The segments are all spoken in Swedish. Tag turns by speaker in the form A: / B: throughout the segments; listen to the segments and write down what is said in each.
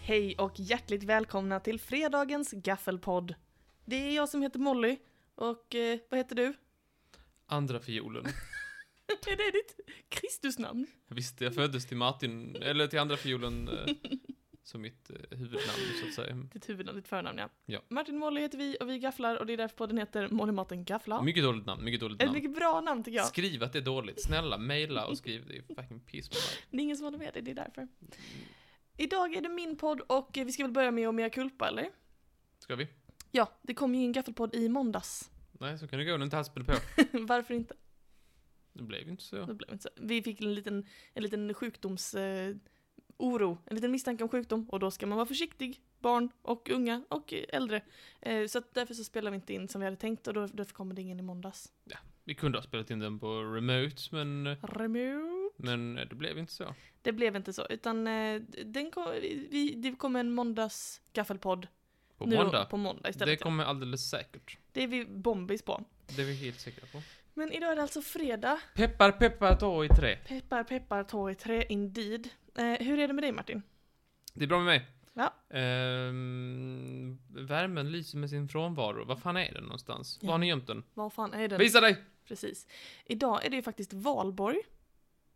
A: Hej och hjärtligt välkomna till fredagens gaffelpodd. Det är jag som heter Molly och eh, vad heter du?
B: Andra fiolen.
A: är det ditt Kristusnamn?
B: Visst, jag föddes till Martin, eller till andra fiolen eh, som mitt eh, huvudnamn så att säga.
A: Ditt huvudnamn, ditt förnamn ja.
B: Ja.
A: Martin och Molly heter vi och vi gafflar och det är därför podden heter Molly Martin Gafflar.
B: Mycket dåligt namn, mycket dåligt
A: Ett
B: namn.
A: mycket bra namn tycker jag.
B: Skriv att det är dåligt, snälla mejla och skriv det är fucking piss på mig.
A: Det är ingen som håller med dig, det är därför. Idag är det min podd och eh, vi ska väl börja med Omea Culpa eller?
B: Ska vi?
A: Ja, det kom ju en gaffelpodd i måndags.
B: Nej, så kan det gå, den inte haspel på.
A: Varför inte?
B: Det blev ju inte
A: Det
B: så.
A: blev inte så. Vi fick en liten, en liten sjukdoms... Eh, oro, en liten misstanke om sjukdom och då ska man vara försiktig, barn och unga och eh, äldre. Eh, så att därför så spelar vi inte in som vi hade tänkt och då, därför kommer det ingen i måndags.
B: Vi kunde ha spelat in den på remote, men,
A: Remo.
B: men eh, det blev inte så.
A: Det blev inte så, utan eh, den kom, vi, det kom en måndags gaffelpodd
B: På
A: nu
B: måndag.
A: på måndag
B: det
A: istället. Det,
B: kommer alldeles säkert.
A: det är vi bombis på.
B: Det är vi helt säkra på.
A: Men idag är det alltså fredag.
B: Peppar, peppar, ta i trä.
A: Peppar, peppar, ta i trä, indeed. Eh, hur är det med dig Martin?
B: Det är bra med mig.
A: Ja.
B: Ehm, värmen lyser med sin frånvaro. Vad fan är den någonstans? Var har ni gömt den?
A: Var fan är den?
B: Visa dig!
A: Precis. Idag är det ju faktiskt valborg.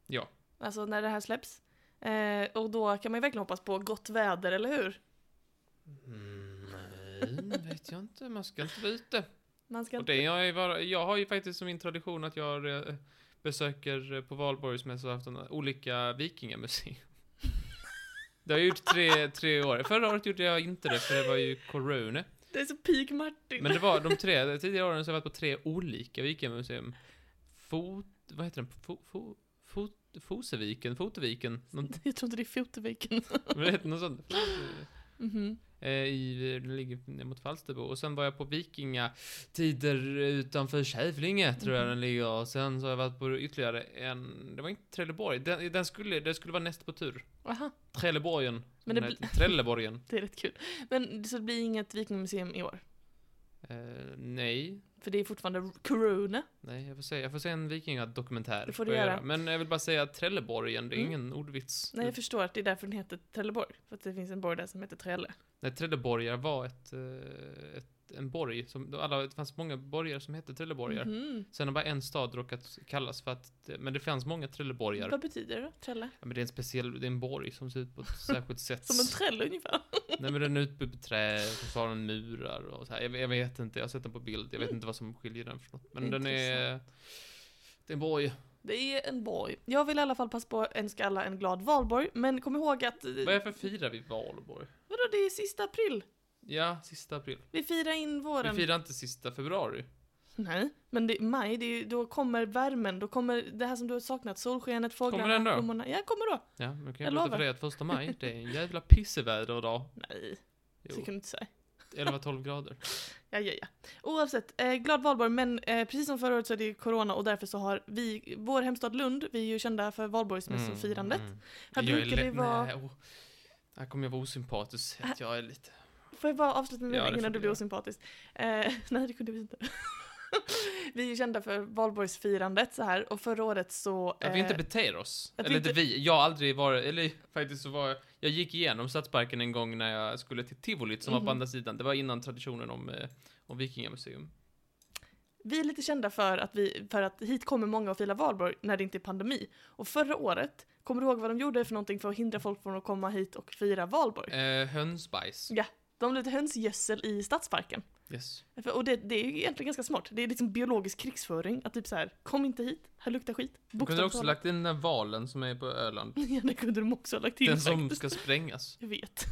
B: Ja.
A: Alltså när det här släpps. Eh, och då kan man ju verkligen hoppas på gott väder, eller hur?
B: Mm, nej, vet jag inte. Man ska inte vara ute.
A: Man ska
B: Och det, jag, är bara, jag har ju faktiskt som min tradition att jag eh, besöker eh, på valborgsmässoafton olika vikingamuseer. Det har jag gjort tre, tre år. Förra året gjorde jag inte det, för det var ju corona.
A: Det är så peak Martin.
B: Men det var de tre, tidigare åren så har jag varit på tre olika vikingamuseum. Fot, vad heter den? Fo, fo, fot, Foseviken? Foteviken? Något,
A: Jag tror inte det är Foteviken.
B: vad heter något sånt?
A: Mhm.
B: Eh, I, det ligger ner mot Falsterbo. Och sen var jag på vikingatider utanför Kävlinge, tror
A: Mm.
B: jag den ligger. Och sen så har jag varit på ytterligare en, det var inte Trelleborg, den, den skulle, det skulle vara näst på tur.
A: Aha,
B: Trelleborgen. som
A: Men det
B: den
A: bli-
B: heter. Trelleborgen.
A: det är rätt kul. Men så det blir inget Vikingmuseum i år.
B: Eh, nej,
A: För det är fortfarande corona.
B: Nej, jag får se, jag får se en vikingadokumentär.
A: Det får du
B: jag
A: göra.
B: Men jag vill bara säga att Trelleborgen, det är
A: Mm.
B: ingen ordvits.
A: Nej, jag förstår att det är därför den heter Trelleborg. För att det finns en borg där som heter Trelle.
B: Nej, Trelleborgar var ett, eh, ett, en borg. Som, då alla, det fanns många borgar som hette Trelleborgar.
A: Mhm.
B: Sen har bara en stad råkat kallas för att, men det fanns många Trelleborgar.
A: Vad betyder det då? Trelle?
B: Ja, men det är en speciell, det är en borg som ser ut på ett särskilt sätt.
A: Som en trälle ungefär.
B: Nej men den är utbyggd på trä, och så har den murar och så här. Jag, jag vet inte, jag har sett den på bild. Jag vet
A: Mm.
B: inte vad som skiljer den från något. Men den är... Det är en borg.
A: Det är en borg. Jag vill i alla fall passa på att önska alla en glad valborg. Men kom ihåg att... eh,
B: Vad är för firar vi valborg?
A: Vadå, det är sista april.
B: Ja, sista april.
A: Vi firar in våren.
B: Vi firar inte sista februari.
A: Nej, men det, maj, det är, ju- då kommer värmen, då kommer det här som du har saknat, solskenet, fåglarna,
B: Kommer den då?
A: blommorna. Ja, kommer då.
B: Ja, men kan
A: Jag
B: jag berätta
A: lovar.
B: för dig att första maj, det är en jävla pisseväderdag.
A: Nej, så
B: Jo,
A: kan du inte säga.
B: 11-12 grader.
A: Ja, ja, ja. Oavsett, eh, glad valborg, men eh, precis som förra året så är det ju corona och därför så har vi, vår hemstad Lund, vi är ju kända för valborgsmässofirandet.
B: Mm, mm.
A: Här
B: Jag är
A: brukar det
B: lätt-
A: vara-
B: Nej, åh. Här kommer jag vara osympatisk, att jag är lite...
A: Får jag bara avsluta med
B: Mm. Ja,
A: ja,
B: det får
A: innan
B: du
A: du blir
B: göra.
A: osympatisk? Eh, nej, det kunde vi inte. vi är ju kända för valborgsfirandet så här och förra året så...
B: Att vi inte
A: eh,
B: beter oss.
A: att vi
B: Eller inte
A: inte-
B: vi, jag har aldrig varit, eller faktiskt så var jag, jag gick igenom Stadsparken en gång när jag skulle till Tivolit som var
A: Mhm.
B: på andra sidan. Det var innan traditionen om, eh, om vikingamuseum.
A: Vi är lite kända för att, vi, för att hit kommer många och firar valborg när det inte är pandemi. Och förra året, kommer du ihåg vad de gjorde för någonting för att hindra folk från att komma hit och fira valborg?
B: Eh, hönsbajs.
A: De la ut hönsgödsel i stadsparken.
B: Yes.
A: För- Och det, det är ju egentligen ganska smart. Det är liksom biologisk krigsföring. Att typ så här, kom inte hit, här luktar skit.
B: Du kunde
A: Bokstavligt
B: också
A: talat.
B: lagt in den där valen som är på Öland.
A: Ja, det kunde de också ha lagt in
B: Den som
A: faktiskt.
B: ska sprängas.
A: Jag vet.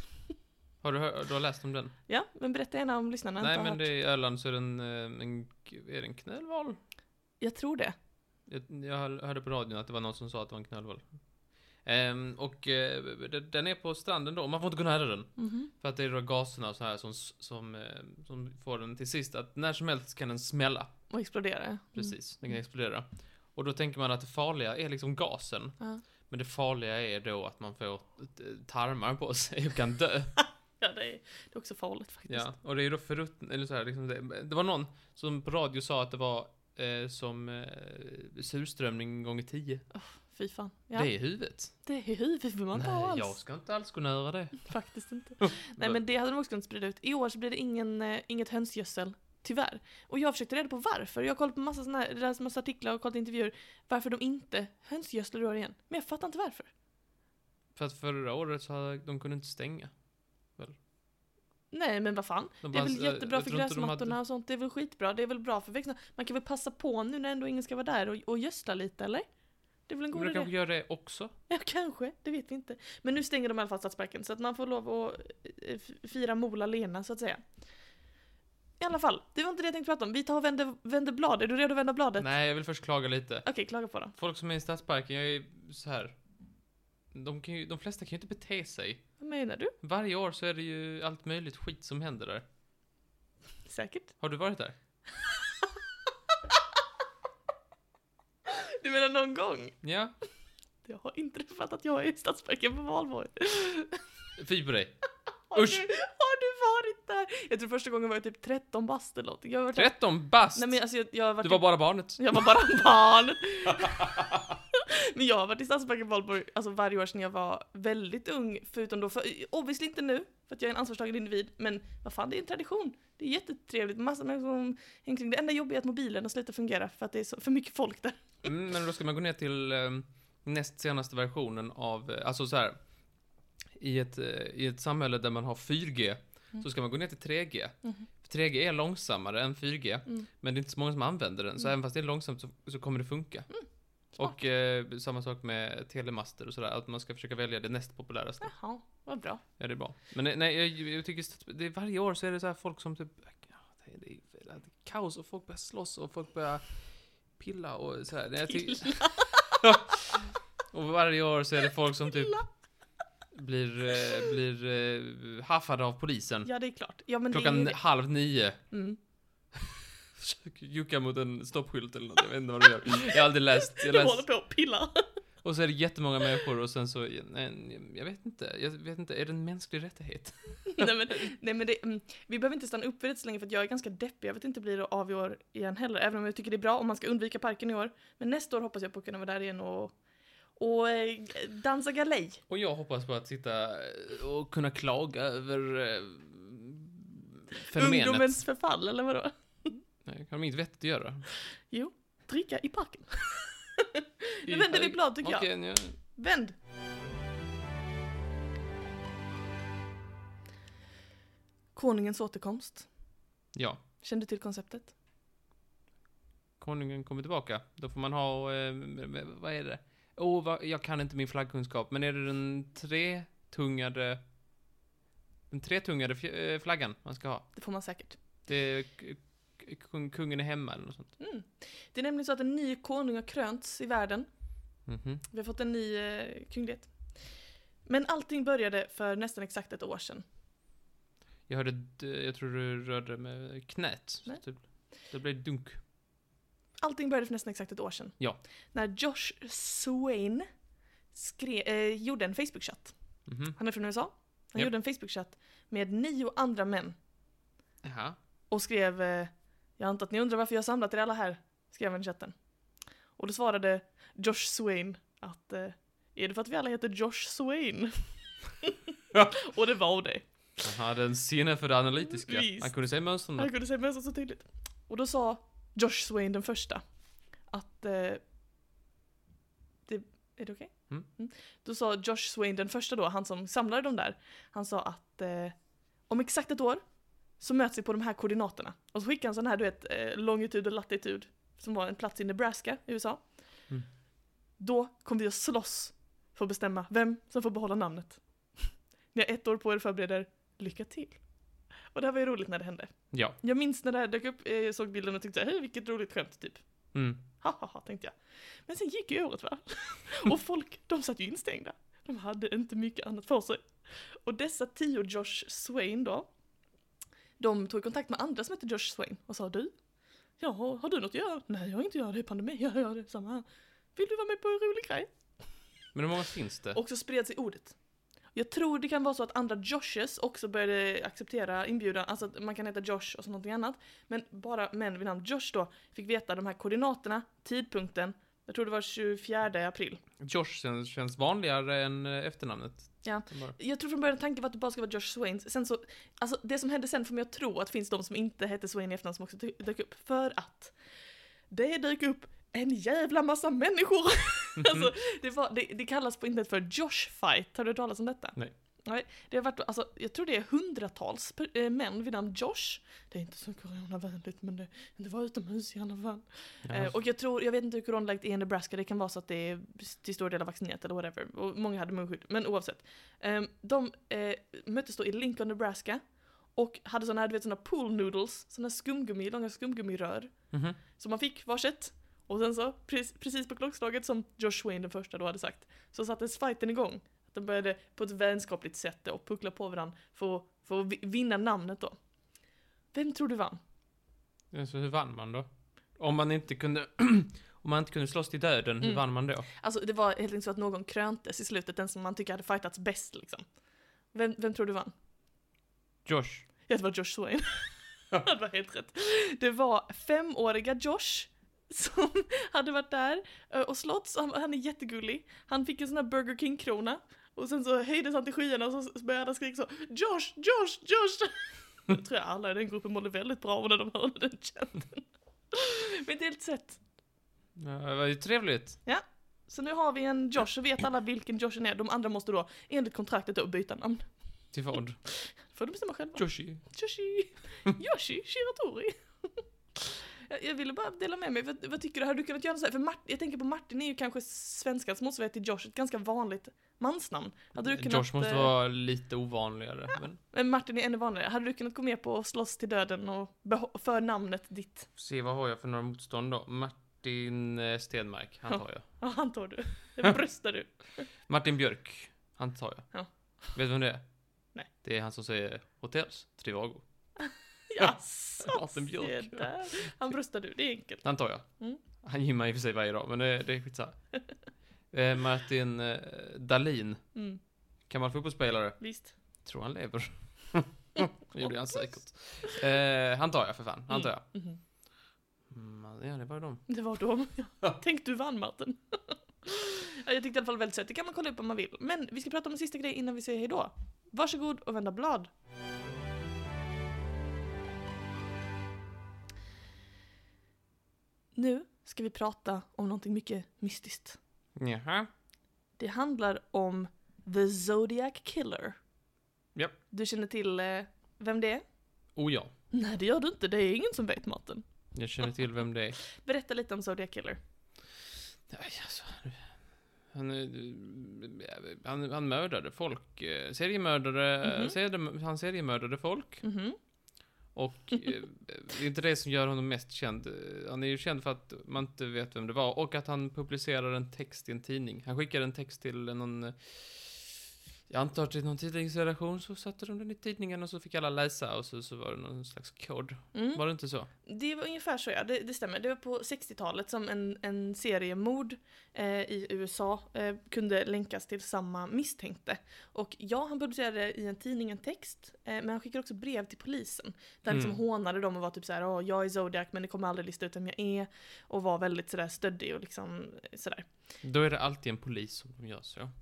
B: Har du, hör, du har läst om den?
A: Ja, men berätta gärna om lyssnarna inte
B: Nej,
A: har
B: men
A: hört.
B: det är i Öland så är den en, eh, en, är det en knölval.
A: Jag tror det.
B: Jag, jag hörde på radion att det var någon som sa att det var en knölval. Ehm, och eh, d- den är på stranden då, man får inte gå nära den.
A: Mhm.
B: För att det är då gaserna och så här som, s- som, eh, som får den till sist att när som helst kan den smälla.
A: Och explodera. Mm.
B: Precis, den kan explodera. Och då tänker man att det farliga är liksom gasen.
A: Ja.
B: Men det farliga är då att man får t- tarmar på sig och kan dö.
A: Ja, det är, det är också farligt faktiskt.
B: Ja, och det är ju då förut, eller så här, liksom det, det var någon som på radio sa att det var eh, som eh, surströmming gånger tio.
A: fy fan. Ja,
B: Det är huvudet.
A: det är huvudet man inte ha
B: Nej,
A: alls.
B: jag ska inte alls kunna göra det.
A: Faktiskt inte. Nej men det hade de också kunnat sprida ut. I år så blir det ingen, eh, inget hönsgödsel. Tyvärr. Och jag försökte reda på varför. Jag har kollat på massa, såna här, läst massa artiklar och kollat intervjuer. Varför de inte hönsgödslar i år igen. Men jag fattar inte varför.
B: För att förra året så hade, de kunde inte stänga.
A: Nej men vad fan.
B: De
A: Det är
B: bara-
A: väl
B: jag-
A: jättebra
B: eh, jag
A: för
B: tror inte de hade-
A: gräsmattorna och sånt. Det är väl skitbra. Det är väl bra för växterna. Man kan väl passa på nu när ändå ingen ska vara där och, och gödsla lite eller? Det är väl en god
B: Men de
A: idé?
B: kanske gör det också.
A: Ja, kanske. Det vet vi inte. Men nu stänger de i alla fall Stadsparken så att man får lov att eh, f- fira Mola Lena så att säga. I alla fall, det var inte det jag tänkte prata om. Vi tar och vänder, vänder blad. Är du redo att vända bladet?
B: Nej, jag vill först klaga lite.
A: Okej, klaga på då.
B: Folk som är i Stadsparken, jag är så här. De, kan ju, de flesta kan ju inte bete sig.
A: Vad menar du?
B: Varje år så är det ju allt möjligt skit som händer där.
A: Säkert?
B: Har du varit där?
A: Du menar någon gång?
B: Ja,
A: Det har inträffat att jag är i Stadsparken på valborg.
B: fy på dig.
A: Har,
B: Usch.
A: Du, har du varit där? Jag tror första gången var jag typ 13 bast eller något. Jag har varit där-
B: 13 bast!
A: Nej men alltså jag, jag har varit
B: Du var bara barnet.
A: Jag var bara barn. Men jag har varit i Stadsparken Valborg alltså varje år sedan jag var väldigt ung, förutom då, för, obviously inte nu, för att jag är en ansvarstagande individ, men vad fan, det är en tradition. Det är jättetrevligt, massa människor som hänger kring. Det enda jobbiga är att mobilen har slutat fungera för att det är så, för mycket folk där.
B: Mm, men då ska man gå ner till ehm, näst senaste versionen av, eh, alltså så här. I ett, eh, I ett samhälle där man har 4G
A: Mm.
B: så ska man gå ner till 3G. För 3G är långsammare än 4G,
A: Mm-hmm. Mm.
B: men det är inte så många som använder den. Så även fast det är långsamt så, så kommer det funka.
A: Mm. smart.
B: och eh, samma sak med telemaster och sådär, att man ska försöka välja det näst populäraste.
A: Jaha, vad bra.
B: Ja, det är bra. Men eh, nej, jag, jag tycker att det är varje år så är det så här folk som typ, ja, det är, det är, det är kaos och folk börjar slåss och folk börjar pilla och så här. Nej, Jag tycker, och varje år så är det folk som typ blir, eh, blir eh, haffade av polisen.
A: Ja, det är klart. Ja, men det är
B: Klockan
A: ju det.
B: halv nio.
A: Mm.
B: Försöker Jucka mot en stoppskylt eller något, jag vet inte vad du gör. Jag har aldrig läst. Jag
A: Du håller
B: läst.
A: på att pilla.
B: Och så är det jättemånga människor och sen så, nej, jag vet inte, jag vet inte, är det en mänsklig rättighet?
A: nej men, nej, men det, mm, vi behöver inte stanna upp vid det så länge för att jag är ganska deppig. Jag vet inte blir det av i år igen heller. Även om jag tycker det är bra om man ska undvika parken i år. Men nästa år hoppas jag på att kunna vara där igen och, och eh, dansa galej.
B: Och jag hoppas på att sitta eh, och kunna klaga över eh, fenomenet.
A: Ungdomens förfall eller vadå?
B: Nej, det kan de inte vettigt göra.
A: Jo, dricka i parken. Nu vänder vi blad tycker jag.
B: Okej, nu-
A: Vänd! Konungens återkomst.
B: Ja,
A: Känner du till konceptet?
B: konungen kommer tillbaka. Då får man ha, eh, vad är det? Oh, vad, jag kan inte min flaggkunskap, men är det den tretungade den tretungade fj- eh, flaggan man ska ha?
A: Det får man säkert.
B: Det är k- k- kung, kungen är hemma eller något sånt.
A: Mm. Det är nämligen så att en ny konung har krönts i världen.
B: Mhm.
A: Vi har fått en ny eh, kunglighet. Men allting började för nästan exakt ett år sedan.
B: Jag hörde, d- jag tror du rörde med knät. så
A: Nej.
B: Typ. Det blev dunk.
A: Allting började för nästan exakt ett år sedan.
B: Ja.
A: När Josh Swain skre, eh, gjorde en Facebook-chatt.
B: Mhm.
A: Han är från USA. Han
B: Japp.
A: gjorde en Facebook-chatt med nio andra män.
B: Jaha.
A: Och skrev eh, “Jag antar att ni undrar varför jag har samlat er alla här”, skrev han i chatten. Och då svarade Josh Swain att eh, “Är det för att vi alla heter Josh Swain?” Och det var det.
B: Han hade en sinne för det analytiska.
A: Visst.
B: Han kunde se mönstren.
A: Han kunde säga mönstret så tydligt. Och då sa Josh Swain den första att... Eh, det, är det okej?
B: Mm.
A: Då sa Josh Swain den första då, han som samlade dem där, han sa att eh, om exakt ett år så möts vi på de här koordinaterna. Och så skickade han sån här, du vet, eh, longitud och latitud, som var en plats i Nebraska i USA.
B: Mm.
A: Då kommer vi att slåss för att bestämma vem som får behålla namnet. Ni har ett år på er att förbereda er. Lycka till! Och det här var ju roligt när det hände.
B: Ja.
A: Jag minns när det här dök upp, eh, jag såg bilden och tyckte hej vilket roligt skämt typ.
B: Mm.
A: Ha ha ha tänkte jag. Men sen gick ju året va? Och folk, de satt ju instängda. De hade inte mycket annat för sig. Och dessa tio Josh Swain då, de tog kontakt med andra som hette Josh Swain och sa du, ja har du något att göra? Nej jag har inte göra det, det är pandemi, jag gör det, samma här. Vill du vara med på en rolig grej?
B: Men hur många finns det?
A: Och så spred sig ordet. Jag tror det kan vara så att andra Joshes också började acceptera inbjudan, alltså att man kan heta Josh och så någonting annat. Men bara män vid namn Josh då fick veta de här koordinaterna, tidpunkten, Jag tror det var 24 april.
B: Josh känns, känns vanligare än eh, efternamnet.
A: Ja.
B: Bara.
A: Jag tror från början tanken var att det bara skulle vara Josh Swains. Sen så, alltså det som hände sen får mig att tro att det finns de som inte hette Swain i efternamn som också dy- dök upp. För att det dök upp en jävla massa människor. alltså, det, var, det, det kallas på internet för Josh fight. Har du hört talas om detta?
B: Nej.
A: Nej, det har varit, alltså, jag tror det är hundratals per- eh, män vid namn Josh. Det är inte så coronavänligt men det, det var utomhus i alla fall. Eh, Och jag tror, jag vet inte hur coronaläget är i Nebraska, det kan vara så att det är till stor del har vaccinerat eller whatever. Och många hade munskydd, men oavsett. Ehm, De eh, möttes då i Lincoln, Nebraska. Och hade sådana här, du vet sådana pool noodles, sådana här skumgummi, långa skumgummirör.
B: Mhm.
A: Som man fick varsitt. Och sen så, precis, precis på klockslaget som Josh Wayne den första då hade sagt, så sattes fighten igång. Att De började på ett vänskapligt sätt och puckla på varandra för, att- för att vi- vinna namnet då. Vem tror du vann?
B: Ja, Så hur vann man då? Om man inte kunde, om man inte kunde slåss till döden, hur
A: Mm.
B: vann man då?
A: Alltså det var helt enkelt så att någon kröntes i slutet, den som man tycker hade fightats bäst liksom. Vem, vem tror du vann?
B: Josh.
A: Ja, det var Josh Swain. det var helt rätt. Det var femåriga Josh som hade varit där eh, och slåtts. Han, han är jättegullig. Han fick en sån här Burger King-krona. Och sen så höjdes han till skyarna och så började han skrika så Josh, Josh, Josh! Jag tror jag alla i den gruppen mådde väldigt bra av när de hörde den chanten. Men det är helt sett.
B: Ja, det var ju trevligt.
A: Så nu har vi en Josh, så vet alla vilken Joshen är. De andra måste då, enligt kontraktet då, byta namn.
B: Till vad?
A: Får de bestämma själva.
B: Joshi.
A: Joshi! Yoshi Shiratori! jag, jag ville bara dela med mig, vad, vad tycker du? Hade du kunnat göra så här? För Mart, jag tänker på Martin är ju kanske svenskans motsvarighet till Josh, ett ganska vanligt mansnamn. Hade du kunnat,
B: Josh måste
A: eh,
B: vara lite ovanligare. Men
A: Men Martin är ännu vanligare. Hade du kunnat gå med på att slåss till döden och beho- för namnet ditt?
B: får se vad har jag för några motstånd då? Martin eh, Stenmark, han tar jag.
A: Ja, han tar du. Det bröstar du.
B: Martin Björk, han tar jag.
A: Ja.
B: Vet du vem det är?
A: Nej.
B: Det är han som säger Hotels Trivago.
A: Jaså,
B: Martin Björk.
A: se där. Han bröstar du, det är enkelt.
B: Han tar jag.
A: Mm.
B: Han gymmar i och för sig varje dag, men det, det är skitsamma. eh, Martin eh, Dalin,
A: Mm,
B: gammal fotbollsspelare.
A: visst.
B: Tror han lever. det gjorde han säkert. Eh, han tar jag för fan, han tar jag.
A: Mhm.
B: Mm, ja, det var de.
A: Det var de. Tänk du vann Martin. Ja, Jag tyckte i alla fall väldigt sött. Det kan man kolla upp om man vill. Men vi ska prata om en sista grej innan vi säger hejdå. Varsågod och vända blad. Nu ska vi prata om någonting mycket mystiskt.
B: Jaha.
A: Det handlar om The Zodiac Killer.
B: Japp.
A: Du känner till eh, vem det är?
B: Oh ja.
A: Nej, det gör du inte. Det är ingen som vet, Martin.
B: Jag känner till vem det är.
A: Berätta lite om Zodiac Killer.
B: Nej, alltså, han, är- han, han mördade folk. eh, Seriemördare.
A: Mhm.
B: seri- han seriemördade folk.
A: Mhm.
B: Och eh, det är inte det som gör honom mest känd. Eh, Han är ju känd för att man inte vet vem det var och att han publicerar en text i en tidning. Han skickade en text till någon, eh, jag antar till någon tidningsredaktion, så satte de den i tidningen och så fick alla läsa och så, så var det någon slags kod.
A: Mm.
B: Var det inte så?
A: Det var ungefär så ja, det, det stämmer. Det var på 60-talet som en, en serie mord eh, i USA eh, kunde länkas till samma misstänkte. Och ja, han publicerade i en tidning en text, eh, men han skickade också brev till polisen. Där han liksom
B: Mm.
A: hånade dem och var typ såhär, åh jag är Zodiac men ni kommer aldrig lista ut vem jag är. Och var väldigt sådär stöddig och liksom eh, sådär.
B: Då är det alltid en polis som de gör så.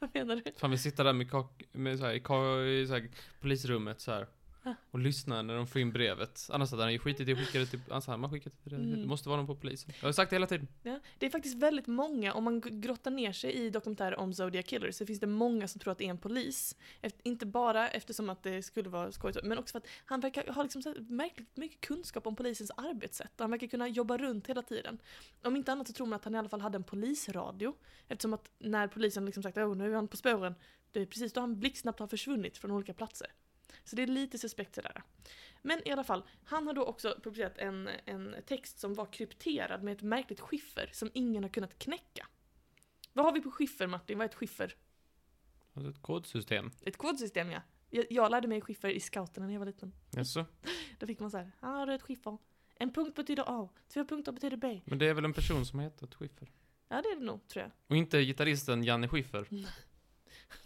A: Vad menar du?
B: Fan, vi sitter där med, kak, med så här, i, ka, i så här, polisrummet så här.
A: Ja.
B: Och lyssnar när de får in brevet. Annars hade han ju skitit i att skicka det till... Alltså, han har skickat det till...
A: Mm.
B: Det måste vara någon på polisen. Jag har sagt det hela tiden.
A: Ja, det är faktiskt väldigt många, om man g- grottar ner sig i dokumentärer om Zodiac Killers så finns det många som tror att det är en polis. Efter, inte bara eftersom att det skulle vara skoj, men också för att han verkar ha liksom så här märkligt mycket kunskap om polisens arbetssätt. Han verkar kunna jobba runt hela tiden. Om inte annat så tror man att han i alla fall hade en polisradio. Eftersom att när polisen liksom sagt åh nu är han på spåren, det är precis då han blixtsnabbt har försvunnit från olika platser. Så det är lite suspekt sådär. Men i alla fall, han har då också publicerat en, en text som var krypterad med ett märkligt skiffer som ingen har kunnat knäcka. Vad har vi på skiffer Martin? Vad är ett skiffer?
B: Alltså ett kodsystem.
A: Ett kodsystem ja. Jag, jag lärde mig skiffer i scouterna när jag var liten.
B: Jaså?
A: Då fick man så här, här har du ett skiffer. En punkt betyder A, två punkter betyder B.
B: Men det är väl en person som heter Schiffer?
A: Ja det är det nog, tror jag.
B: Och inte gitarristen Janne Schiffer.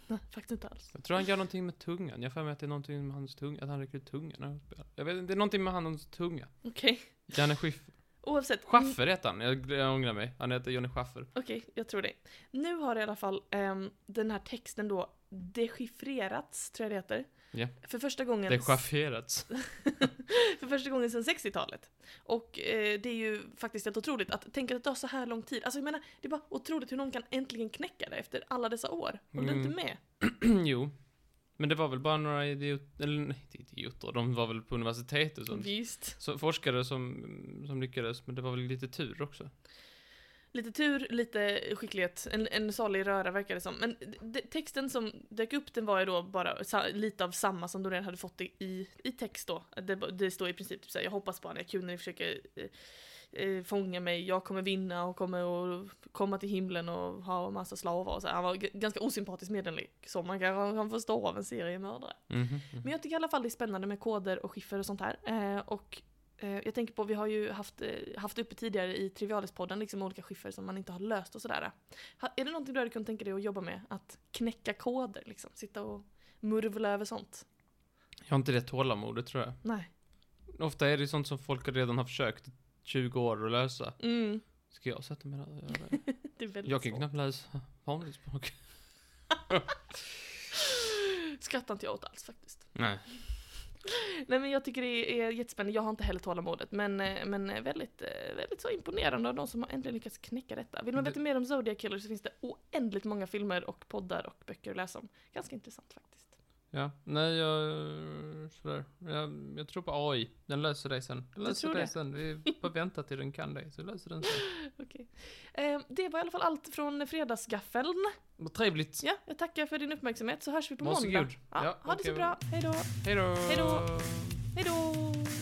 A: Nej, faktiskt inte alls.
B: Jag tror han gör någonting med tungan. Jag har för mig att det är någonting med hans tunga, att han räcker ut tungan när han spelar. Jag vet inte, det är någonting med hans tunga.
A: Okej.
B: Janne Schiffer.
A: Oavsett. Mm,
B: Schaffer heter han, jag, jag ångrar mig. Han heter Johnny Schaffer.
A: Okej, jag tror det. Nu har i alla fall ehm, den här texten då dechiffrerats, tror jag det heter.
B: Ja.
A: För första gången...
B: Det chafferats.
A: för första gången sedan 60-talet. Och eh, det är ju faktiskt helt otroligt att tänka att det tar så här lång tid. Alltså jag menar, det är bara otroligt hur någon kan äntligen knäcka det efter alla dessa år. Håller du
B: Mm.
A: inte med?
B: jo. Men det var väl bara några idioter, eller nej, inte idioter, de var väl på universitetet som,
A: Visst.
B: så, forskare som, som lyckades, men det var väl lite tur också.
A: Lite tur, lite skicklighet. En, en salig röra verkar det som. Men d- d- texten som dök upp den var ju då bara sa, lite av samma som du redan hade fått i, i, i text då. Det, ba- det står i princip typ såhär, jag hoppas på att jag kunde försöker eh, eh, fånga mig, jag kommer vinna och kommer att komma till himlen och ha massa slavar och så. här. Han var g- ganska osympatisk medlemlig, som man kan, kan förstå av en seriemördare.
B: Mhm.
A: Men jag tycker i alla fall det är spännande med koder och skiffer och sånt här. Eh, och eh, jag tänker på, vi har ju haft, eh, haft uppe tidigare i Trivialispodden, liksom olika skiffer som man inte har löst och sådär. Ha, är det någonting du hade kunnat tänka dig att jobba med? Att knäcka koder liksom? Sitta och murvla över sånt?
B: Jag har inte det tålamodet tror jag.
A: Nej.
B: Ofta är det ju sånt som folk redan har försökt 20 år att lösa.
A: Mm,
B: Ska jag sätta mig där och göra det?
A: det är väldigt
B: Jag kan
A: svårt.
B: knappt läsa vanligt språk.
A: Skrattar inte jag åt alls faktiskt.
B: Nej.
A: Nej men jag tycker det är jättespännande, jag har inte heller tålamodet men, eh, men eh, väldigt, eh, väldigt så imponerande av de som har äntligen lyckats knäcka detta. Vill man
B: Det-
A: veta mer om Zodiac Killer så finns det oändligt många filmer och poddar och böcker att läsa om. Ganska intressant faktiskt.
B: Ja, nej jag... Sådär. Jag, jag tror på AI. Den löser dig sen. Den
A: Du
B: löser
A: tror
B: dig
A: det?
B: sen. Vi bara vänta till den kan dig, så löser den sig.
A: Okej. Eh, det var i alla fall allt från fredagsgaffeln.
B: Vad trevligt.
A: Ja, jag tackar för din uppmärksamhet så hörs vi på måndag.
B: Varsågod.
A: Ja,
B: Ja,
A: ha det så
B: okej.
A: bra, hejdå,
B: Hej då.
A: Hej då. hejdå!